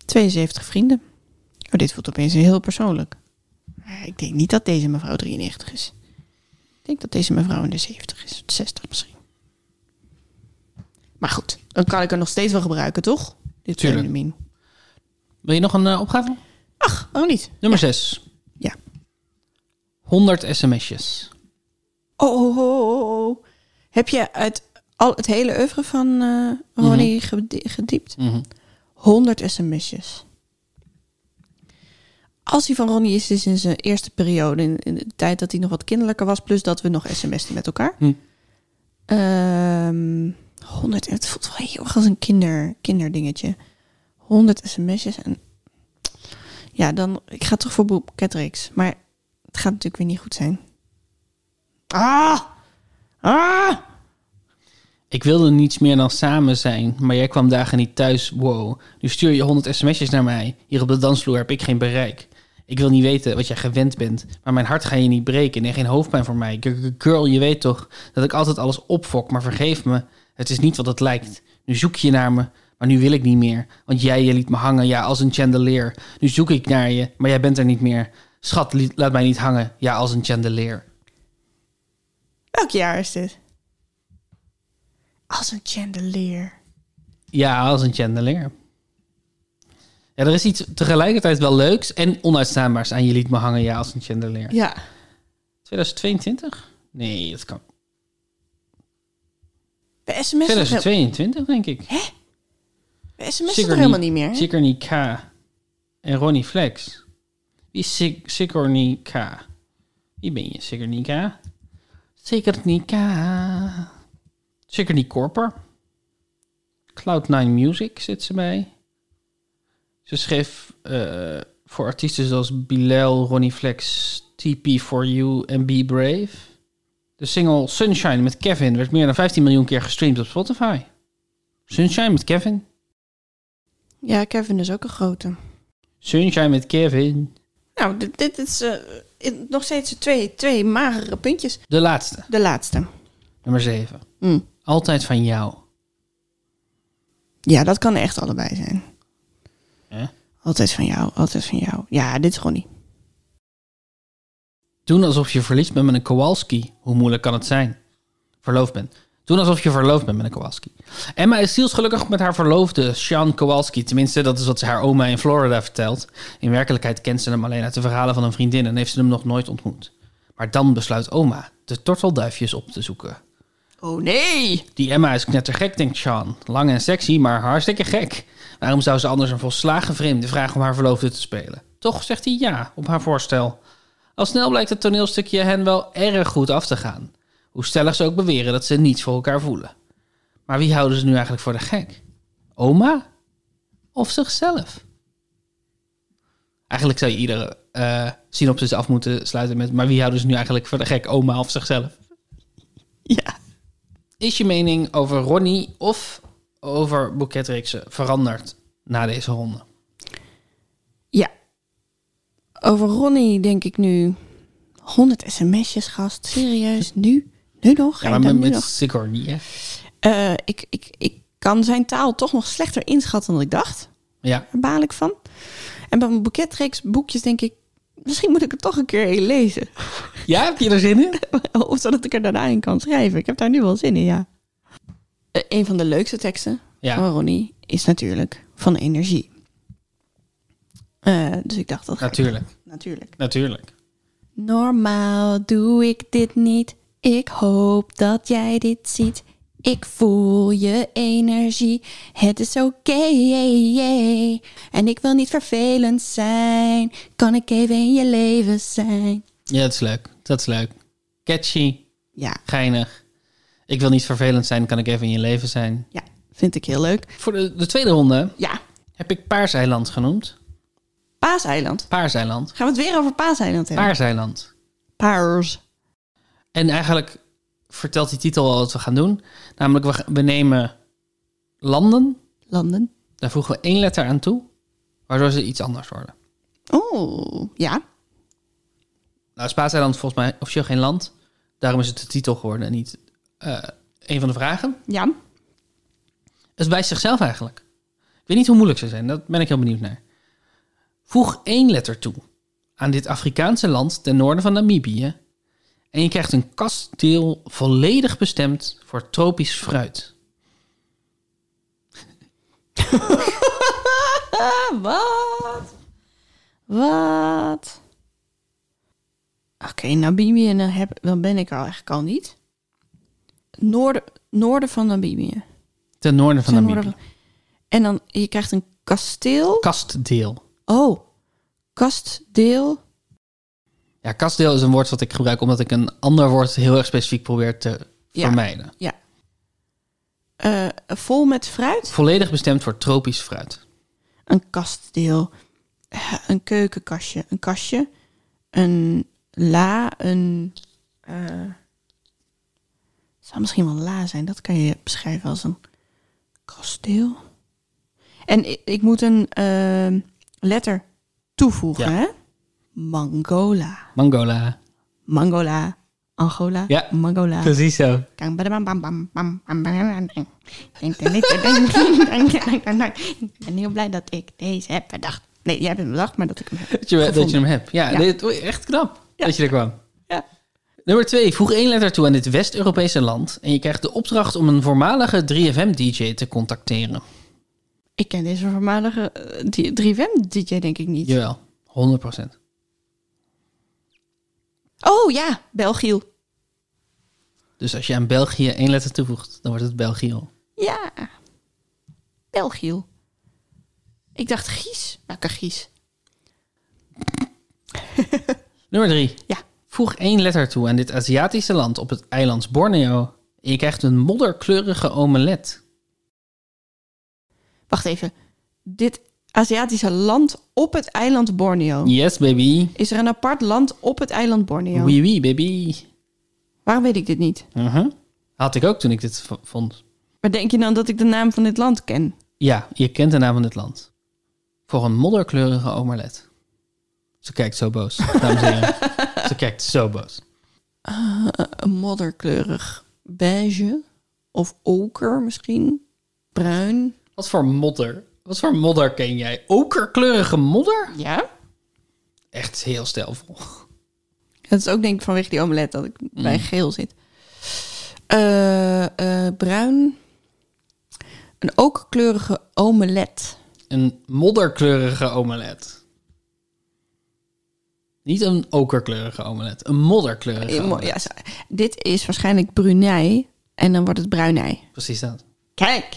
A: 72 vrienden. Oh, dit voelt opeens heel persoonlijk. Maar ik denk niet dat deze mevrouw 93 is. Ik denk dat deze mevrouw in de 70 is. 60 misschien. Maar goed, dan kan ik er nog steeds wel gebruiken, toch? Dit
B: Tuurlijk.
A: fenomeen.
B: Wil je nog een eh, opgave?
A: Ach, oh niet.
B: Nummer 6.
A: Ja.
B: 100 sms'jes.
A: Oh, oh, oh, oh, oh. Heb je uit al het hele oeuvre van eh Ronnie gedi- gediept?
B: Mhm.
A: 100 sms'jes. als hij van Ronnie is, is in zijn eerste periode, in, in de tijd dat hij nog wat kinderlijker was, plus dat we nog sms'en met elkaar.
B: Hm.
A: Ehm, 100, en het voelt wel heel erg als een kinder, kinderdingetje. 100 sms'jes en ja, dan, ik ga toch voor Bob Catrix, maar het gaat natuurlijk weer niet goed zijn. Ah! Ah!
B: Ik wilde niets meer dan samen zijn, maar jij kwam dagen niet thuis. Wow. Nu stuur je 100 sms'jes naar mij. Hier op de dansvloer heb ik geen bereik. Ik wil niet weten wat jij gewend bent, maar mijn hart ga je niet breken. Nee, geen hoofdpijn voor mij. G- g- Girl, je weet toch dat ik altijd alles opfok, maar vergeef me. Het is niet wat het lijkt. Nu zoek je naar me, maar nu wil ik niet meer. Want jij je liet me hangen, ja, als een chandelier. Nu zoek ik naar je, maar jij bent er niet meer. Schat, liet- laat mij niet hangen, ja, als een chandelier.
A: Welk jaar is dit? Als een chandelier.
B: Ja, als een chandelier. Ja, er is iets tegelijkertijd wel leuks en onuitstaanbaars aan je liet me hangen, ja, als een chandelier.
A: Ja.
B: 2022? Nee, dat kan.
A: Bij sms is het-
B: 2022, denk ik.
A: bij sms is het
B: Sigourney-
A: toch helemaal niet meer? hè?
B: Sigourney K. En Ronnie Flex. Wie is Sig Sigourney K? Wie ben je, Sigourney K? Sigourney K. Sigourney Korper. Cloud9 Music zit ze bij. Ze schreef eh, voor artiesten zoals Bilal, Ronnie Flex, TP4U en Be Brave. De single Sunshine met Kevin werd meer dan 15 miljoen keer gestreamd op Spotify. Sunshine met Kevin.
A: Ja, Kevin is ook een grote.
B: Sunshine met Kevin.
A: Nou, dit, dit is eh, in- nog steeds twee, twee magere puntjes.
B: De laatste,
A: De laatste.
B: nummer 7.
A: Hm.
B: Altijd van jou.
A: Ja, dat kan echt allebei zijn.
B: Hè?
A: Altijd van jou, altijd van jou. Ja, dit is Ronnie.
B: Doen alsof je verliefd bent met een Kowalski. Hoe moeilijk kan het zijn? Verloofd bent. Doen alsof je verloofd bent met een Kowalski. Emma is zielsgelukkig met haar verloofde, Sean Kowalski. Tenminste, dat is wat ze haar oma in Florida vertelt. In werkelijkheid kent ze hem alleen uit de verhalen van een vriendin en heeft ze hem nog nooit ontmoet. Maar dan besluit oma de tortelduifjes op te zoeken.
A: Oh nee!
B: Die Emma is knettergek, denkt Sean. Lang en sexy, maar hartstikke gek. Waarom zou ze anders een volslagen vreemde vragen om haar verloofde te spelen? Toch zegt hij ja op haar voorstel. Al snel blijkt het toneelstukje hen wel erg goed af te gaan. Hoe stellig ze ook beweren dat ze niets voor elkaar voelen. Maar wie houden ze nu eigenlijk voor de gek? Oma? Of zichzelf? Eigenlijk zou je iedere eh, synopsis af moeten sluiten met... maar wie houden ze nu eigenlijk voor de gek? Oma of zichzelf?
A: Ja.
B: Is je mening over Ronnie of over boeketreeksen veranderd na deze ronde?
A: Ja. Over Ronnie denk ik nu 100 sms'jes, gast. Serieus, nu? Nu nog? Ga
B: Ja,
A: je
B: maar
A: daar
B: met,
A: nu
B: met
A: nog?
B: Sigourney, hè?
A: Eh, ik, ik, ik kan zijn taal toch nog slechter inschatten dan ik dacht.
B: Ja,
A: Daar baal ik van. En bij mijn boeketreeks boekjes denk ik... Misschien moet ik het toch een keer heen lezen. (laughs)
B: ja heb je er zin in?
A: of zodat ik er daarna in kan schrijven. Ik heb daar nu wel zin in, ja. Eh, een van de leukste teksten
B: Ja,
A: van Ronnie is natuurlijk van energie. Eh, dus ik dacht, dat ga ik-
B: natuurlijk,
A: natuurlijk.
B: natuurlijk.
A: Normaal doe ik dit niet. Ik hoop dat jij dit ziet. Ik voel je energie. Het is oké. En ik wil niet vervelend zijn. Kan ik even in je leven zijn?
B: Ja, dat is leuk, dat is leuk. Catchy,
A: Ja,
B: geinig. Ik wil niet vervelend zijn, kan ik even in je leven zijn.
A: ja, vind ik heel leuk.
B: Voor de, de tweede ronde
A: Ja,
B: heb ik Paarseiland genoemd.
A: Paaseiland.
B: Paarseiland,
A: Gaan we het weer over Paaseiland hebben?
B: Paarseiland.
A: Paars.
B: En eigenlijk vertelt die titel al wat we gaan doen. Namelijk, we, ga- we nemen landen
A: Landen.
B: Daar voegen we één letter aan toe, waardoor ze iets anders worden.
A: Oh, ja.
B: Nou, is Paaseiland volgens mij officieel geen land. Daarom is het de titel geworden en niet eh, een van de vragen.
A: Ja.
B: Het wijst zichzelf eigenlijk. Ik weet niet hoe moeilijk ze zijn, daar ben ik heel benieuwd naar. Voeg één letter toe aan dit Afrikaanse land ten noorden van Namibië. En je krijgt een kasteel volledig bestemd voor tropisch fruit.
A: Ah, (laughs) wat? Wat? Oké, Namibië, dan, heb, dan ben ik er eigenlijk al niet. Noorden, noorden van Namibië.
B: Ten noorden van
A: Ten
B: Namibië.
A: noorden van- En dan, je krijgt een kasteel.
B: Kastdeel.
A: Oh, Kastdeel.
B: Ja, kastdeel is een woord wat ik gebruik omdat ik een ander woord heel erg specifiek probeer te
A: Ja.
B: vermijden.
A: eh, vol met fruit.
B: Volledig bestemd voor tropisch fruit.
A: een kastdeel, eh, een keukenkastje, een kastje, een la, een. eh, het zou misschien wel een la zijn, dat kan je beschrijven als een kastdeel. En i- ik, moet een eh, letter toevoegen,
B: Ja.
A: hè? Mangola.
B: Mangola.
A: Mangola. Angola.
B: Ja.
A: Mangola.
B: Precies zo.
A: Kang, badabam, bam, bam, bam, bam, bam, bam, bam. Ding, ding, ding, ding, ding, ding, ding, ding, ding. Ik ben heel blij dat ik deze heb bedacht. Nee, jij hebt hem bedacht, maar dat ik hem heb.
B: Dat je, dat je
A: gevonden.
B: hem hebt. Ja,
A: Ja.
B: dit- oei, echt knap
A: Ja.
B: dat je er kwam.
A: Ja.
B: Nummer twee. Voeg één letter toe aan dit West-Europese land. En je krijgt de opdracht om een voormalige 3FM-DJ te contacteren.
A: Ik ken deze voormalige eh, die- 3FM-DJ denk ik niet.
B: Jawel, 100%.
A: Oh ja, België.
B: Dus als je aan België één letter toevoegt, dan wordt het België.
A: Ja. België. Ik dacht Gies. Welke Gies?
B: Nummer drie.
A: Ja.
B: Voeg één letter toe aan dit Aziatische land op het eiland Borneo. En je krijgt een modderkleurige omelet.
A: Wacht even. Dit Aziatische land op het eiland Borneo.
B: Yes, baby.
A: Is er een apart land op het eiland Borneo?
B: Oui, oui, baby.
A: Waarom weet ik dit niet?
B: Mhm. Had ik ook toen ik dit v- vond.
A: Maar denk je dan dat ik de naam van dit land ken?
B: Ja, je kent de naam van het land. Voor een modderkleurige omelet. Ze kijkt zo boos, dames en heren. Ze kijkt zo boos.
A: een modderkleurig beige of oker misschien, bruin.
B: Wat voor modder? Wat voor modder ken jij? Okerkleurige modder?
A: Ja.
B: Echt heel stijlvol.
A: Dat is ook denk ik vanwege die omelet dat ik bij geel zit. Eh, eh, bruin. Een okerkleurige omelet.
B: Een modderkleurige omelet. Niet een okerkleurige omelet. Een modderkleurige
A: Eh, mo-
B: omelet.
A: Ja, zo- dit is waarschijnlijk brunei en dan wordt het bruin ei.
B: Precies dat.
A: Kijk,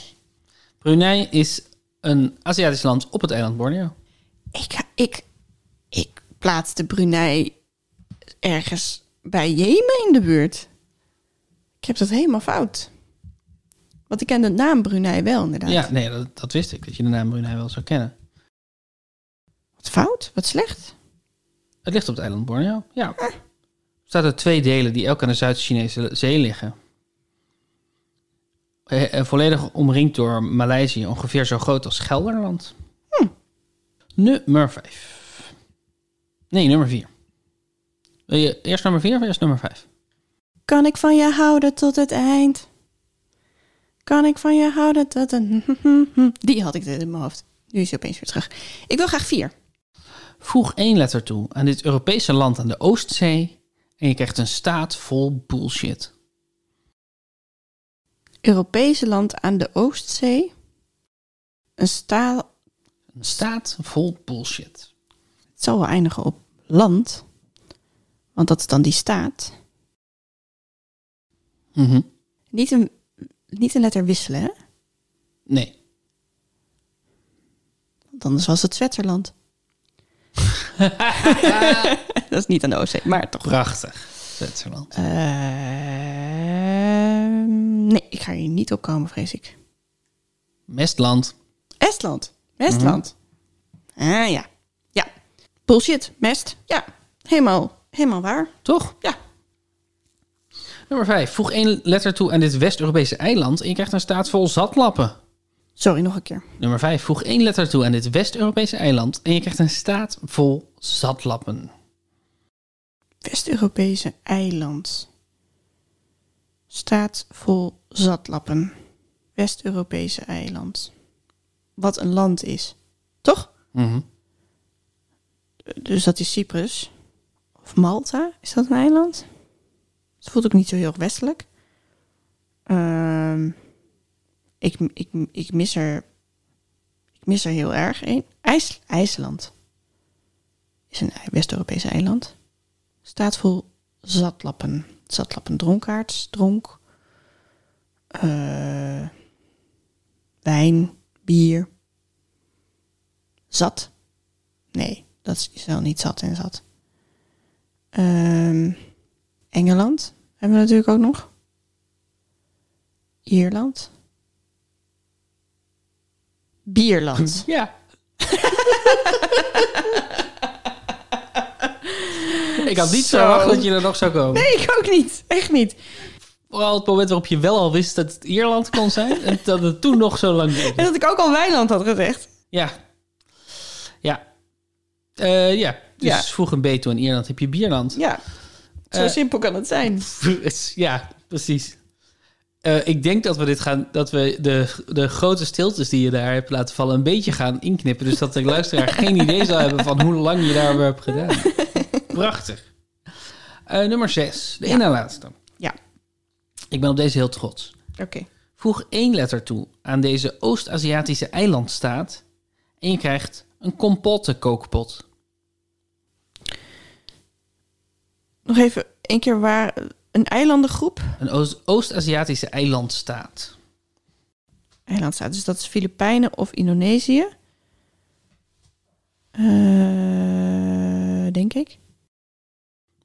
B: Brunei is een Aziatisch land op het eiland Borneo.
A: ik, ik, ik plaatste Brunei ergens bij Jemen in de buurt. Ik heb dat helemaal fout. Want ik ken de naam Brunei wel, inderdaad.
B: Ja, nee, dat, dat wist ik. Dat je de naam Brunei wel zou kennen.
A: Wat fout, wat slecht.
B: Het ligt op het eiland Borneo, ja. Er staat uit twee delen die elk aan de Zuid-Chinese zee liggen. Eh, eh, volledig omringd door Maleisië, ongeveer zo groot als Gelderland. Nummer 5. Nee, nummer 4. Wil je eerst nummer 4 of eerst nummer 5?
A: Kan ik van je houden tot het eind? Kan ik van je houden tot een... (laughs) Die had ik in mijn hoofd. Nu is hij opeens weer terug. Ik wil graag vier.
B: Voeg één letter toe aan dit Europese land aan de Oostzee en je krijgt een staat vol bullshit.
A: Europese land aan de Oostzee. Een staal
B: Een staat vol bullshit.
A: Het zal wel eindigen op land. Want dat is dan die staat.
B: Mhm.
A: Niet een, niet een letter wisselen, hè?
B: Nee,
A: Want anders was het Zwitserland. dat is niet aan de Oostzee, maar toch.
B: prachtig. Zwitserland.
A: Ehm, nee, ik ga hier niet op komen, vrees ik.
B: Mestland.
A: Estland. Mestland. Ah ja. Ja. Bullshit. Mest. Ja. Helemaal, helemaal waar.
B: Toch?
A: Ja.
B: Nummer 5. Voeg één letter toe aan dit West-Europese eiland en je krijgt een staat vol zatlappen.
A: Sorry, nog een keer.
B: Nummer 5. Voeg één letter toe aan dit West-Europese eiland en je krijgt een staat vol zatlappen.
A: West-Europese eiland. Staat vol zatlappen. West-Europese eiland. Wat een land is. Toch?
B: Mhm.
A: Dus dat is Cyprus. Of Malta, is dat een eiland? Het voelt ook niet zo heel erg westelijk. Ehm, ik, ik, ik, mis er, ik mis er heel erg een. IJs, IJsland is een West-Europese eiland. Staat vol zatlappen. Zatlappen dronkaards, dronk. eh, wijn, bier. Zat. Nee, Dat is wel niet zat en zat. Ehm, Engeland hebben we natuurlijk ook nog. Ierland.
B: (laughs)
A: Bierland.
B: Ja. ik had niet
A: Zo.
B: verwacht dat je er nog zou komen.
A: Nee, ik ook niet. Echt niet.
B: Vooral het moment waarop je wel al wist dat het Ierland kon zijn. en dat het toen nog zo lang duurde.
A: En dat ik ook al Weiland had gezegd.
B: Ja. Ja. Eh, ja. Dus
A: Ja.
B: vroeg een beetje in Ierland heb je Bierland.
A: Ja. Zo
B: Eh.
A: simpel kan het zijn.
B: ja, precies. Eh, ik denk dat we dit gaan, dat we de, de grote stiltes die je daar hebt laten vallen een beetje gaan inknippen. Dus dat de
A: (laughs)
B: luisteraar geen idee zal hebben van hoe lang je daarover hebt gedaan. Prachtig. Eh, nummer 6, de
A: Ja.
B: ene laatste.
A: Ja.
B: Ik ben op deze heel trots.
A: Oké.
B: Voeg één letter toe aan deze Oost-Aziatische eilandstaat en je krijgt een compotte kookpot.
A: Nog even één keer waar... Een eilandengroep.
B: Een Oost- Oost-Aziatische eilandstaat.
A: Eiland staat. Dus dat is Filipijnen of Indonesië. Eh, denk ik.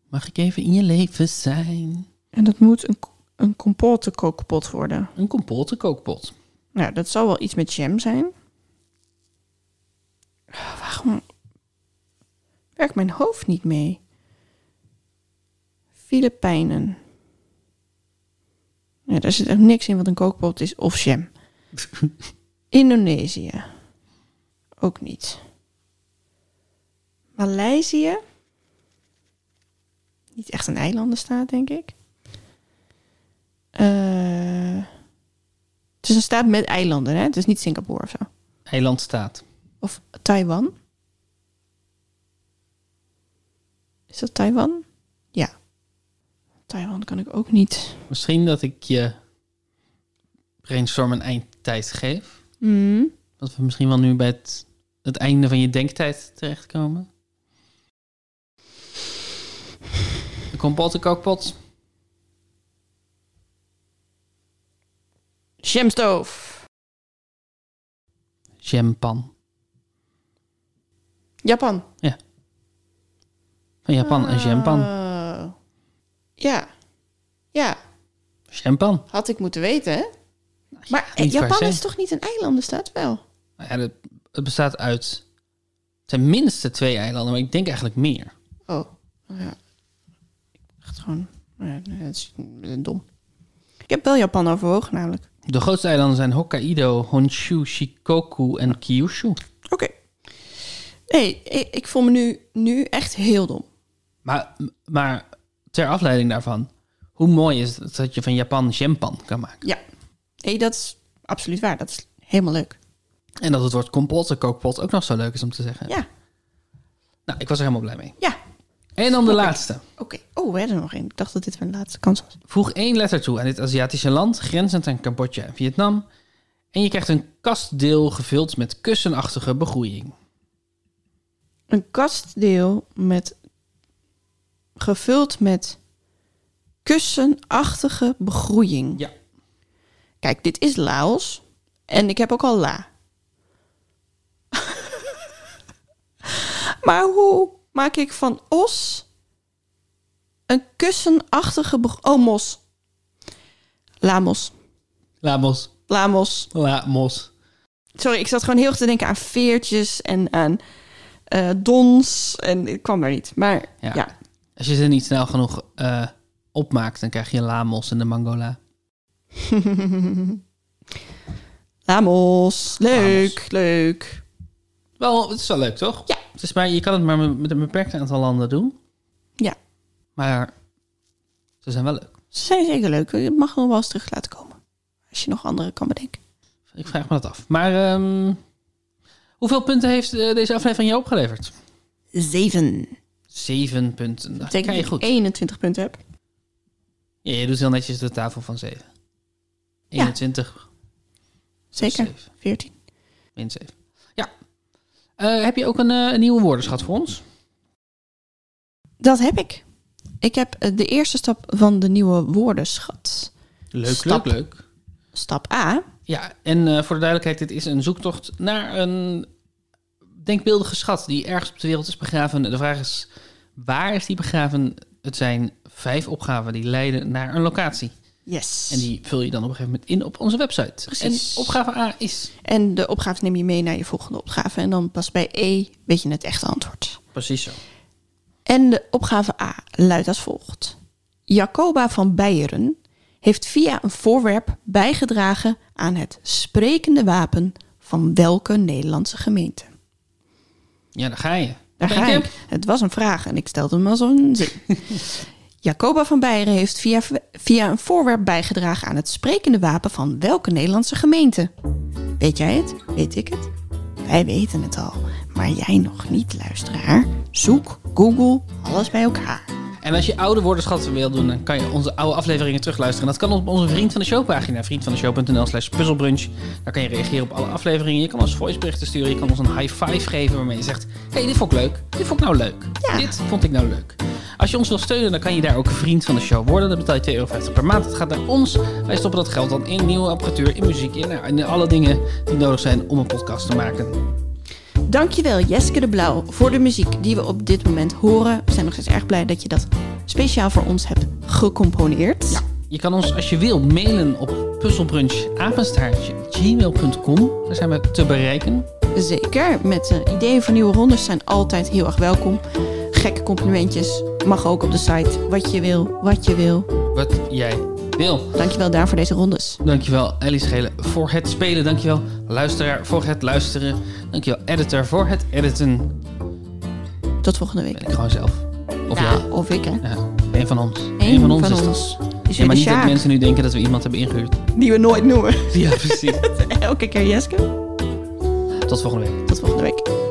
B: Mag ik even in je leven zijn?
A: En dat moet een, k- een compote-kookpot worden.
B: Een compotte kookpot.
A: Nou, dat zal wel iets met jam zijn. Ah, Waarom werkt mijn hoofd niet mee? Filipijnen. Ja, daar zit echt niks in wat een kookpot is of jam. Indonesië. Ook niet. Maleisië. Niet echt een eilandenstaat, denk ik. Eh. Het is een staat met eilanden, hè? Het is niet Singapore of zo.
B: Eilandstaat.
A: Of Taiwan. Is dat Taiwan? Ja. Taiwan kan ik ook niet.
B: Misschien dat ik je brainstorm een eindtijd geef. Dat we misschien wel nu bij het, het einde van je denktijd terechtkomen. Een compotte kookpot.
A: Jamstoof.
B: Jampan.
A: Japan.
B: Van Japan, een jampan.
A: Oh. Ja. Ja,
B: Jampan.
A: had ik moeten weten, hè? Maar eh,
B: Nou, niet per
A: Japan
B: se.
A: is toch niet een eilandenstaat? Wel.
B: Nou Ja, dat- het bestaat uit tenminste twee eilanden, maar ik denk eigenlijk meer.
A: Oh. Ja. Ik dacht gewoon... ja, dat is eh, dom. Ik heb wel Japan overwogen, namelijk.
B: De grootste eilanden zijn Hokkaido, Honshu, Shikoku en Kyushu.
A: Oké. Nee, ik, ik voel me nu, nu echt heel dom.
B: Maar, maar ter afleiding daarvan, hoe mooi is het dat je van Japan jampan kan maken?
A: Ja. Nee, dat is absoluut waar. Dat is helemaal leuk.
B: En dat het woord compote, kookpot ook nog zo leuk is om te zeggen.
A: Ja.
B: Nou, ik was er helemaal blij mee.
A: Ja.
B: En dan de laatste.
A: Oké. Oh, we hadden er nog één. Ik dacht dat dit mijn laatste kans was.
B: Voeg één letter toe aan dit Aziatische land, grenzend aan Cambodja en Vietnam. En je krijgt een kastdeel gevuld met kussenachtige begroeiing.
A: Een kastdeel met... Gevuld met kussenachtige begroeiing.
B: Ja.
A: Kijk, dit is Laos. En ik heb ook al La. maar hoe maak ik van os een kussenachtige... beg- Oh, mos. Lamos.
B: Lamos.
A: Lamos.
B: Lamos.
A: Sorry, ik zat gewoon heel erg te denken aan veertjes en aan eh, dons. En ik kwam er niet. Maar
B: Ja.
A: ja. (laughs)
B: Als je ze niet snel genoeg eh, opmaakt, dan krijg je Lamos en de Mangola.
A: Lamos. Leuk, leuk.
B: Wel, het is wel leuk, toch?
A: Ja.
B: Het is maar, je kan het maar met een beperkt aantal landen doen.
A: Ja.
B: Maar ze zijn wel leuk.
A: Ze zijn zeker leuk. Je mag nog wel eens terug laten komen. Als je nog andere kan bedenken.
B: Ik vraag me dat af. Maar ehm, hoeveel punten heeft eh, deze aflevering je opgeleverd?
A: 7.
B: Zeven punten. Dat
A: betekent
B: kan je
A: dat ik
B: goed.
A: 21 punten heb.
B: Ja, je doet heel netjes de tafel van zeven. 21
A: Zeker.
B: Zeven.
A: 14.
B: min 7. Ja. Eh, heb je ook een, eh, een nieuwe woordenschat voor ons?
A: Dat heb ik. Ik heb eh, de eerste stap van de nieuwe woordenschat.
B: Leuk,
A: Stap.
B: leuk, leuk.
A: Stap A.
B: Ja, en eh, voor de duidelijkheid, dit is een zoektocht naar een denkbeeldige schat die ergens op de wereld is begraven. De vraag is, waar is die begraven? Het zijn vijf opgaven die leiden naar een locatie.
A: Yes.
B: En die vul je dan op een gegeven moment in op onze website.
A: Precies.
B: En opgave A is...
A: En de opgave neem je mee naar je volgende opgave. En dan pas bij E weet je het echte antwoord.
B: Precies zo.
A: En de opgave A luidt als volgt. Jacoba van Beieren heeft via een voorwerp bijgedragen aan het sprekende wapen van welke Nederlandse gemeente?
B: Ja, daar ga je.
A: Daar
B: Denk
A: ga
B: je?
A: ik. Het was een vraag en ik stelde hem als een zin. Jacoba van Beieren heeft via, via een voorwerp bijgedragen aan het sprekende wapen van welke Nederlandse gemeente? Weet jij het? Weet ik het? Wij weten het al, maar jij nog niet, luisteraar. Zoek, Google, alles bij elkaar.
B: En als je oude woordenschatten wil doen, dan kan je onze oude afleveringen terugluisteren. Dat kan op onze Vriend van de Show pagina, vriendvandeshow.nl slash puzzelbrunch. Daar kan je reageren op alle afleveringen. Je kan ons voiceberichten sturen, je kan ons een high five geven waarmee je zegt... hey, dit vond ik leuk. Dit vond ik nou leuk.
A: Ja.
B: Dit vond ik nou leuk. Als je ons wil steunen, dan kan je daar ook Vriend van de Show worden. Dan betaal je 2,50 euro per maand. Het gaat naar ons. Wij stoppen dat geld dan in nieuwe apparatuur, in muziek, in, nou, in alle dingen die nodig zijn om een podcast te maken.
A: Dankjewel Jeske de Blauw voor de muziek die we op dit moment horen. We zijn nog steeds erg blij dat je dat speciaal voor ons hebt gecomponeerd.
B: Je kan ons als je wil mailen op puzzelbrunch@gmail.com. Daar zijn we te bereiken.
A: Zeker, met eh, ideeën voor nieuwe rondes zijn altijd heel erg welkom. Gekke complimentjes mag ook op de site. Wat je wil, wat je wil.
B: Wat jij wil.
A: Dankjewel daar voor deze rondes.
B: Dankjewel Ellie Schelen voor het spelen. Dankjewel luisteraar voor het luisteren. Dankjewel editor voor het editen.
A: Tot volgende week.
B: Ben ik gewoon zelf. Of
A: Nou,
B: jij.
A: of ik hè.
B: Ja, een van ons.
A: Eén
B: Een van ons
A: van
B: is dat.
A: ons. Is
B: Ja,
A: weer
B: maar
A: de
B: niet dat
A: Sjaak,
B: mensen nu denken dat we iemand hebben ingehuurd.
A: die we nooit noemen. (laughs)
B: Ja, precies.
A: Elke keer Jeske.
B: (laughs) Tot volgende week.
A: Tot volgende week.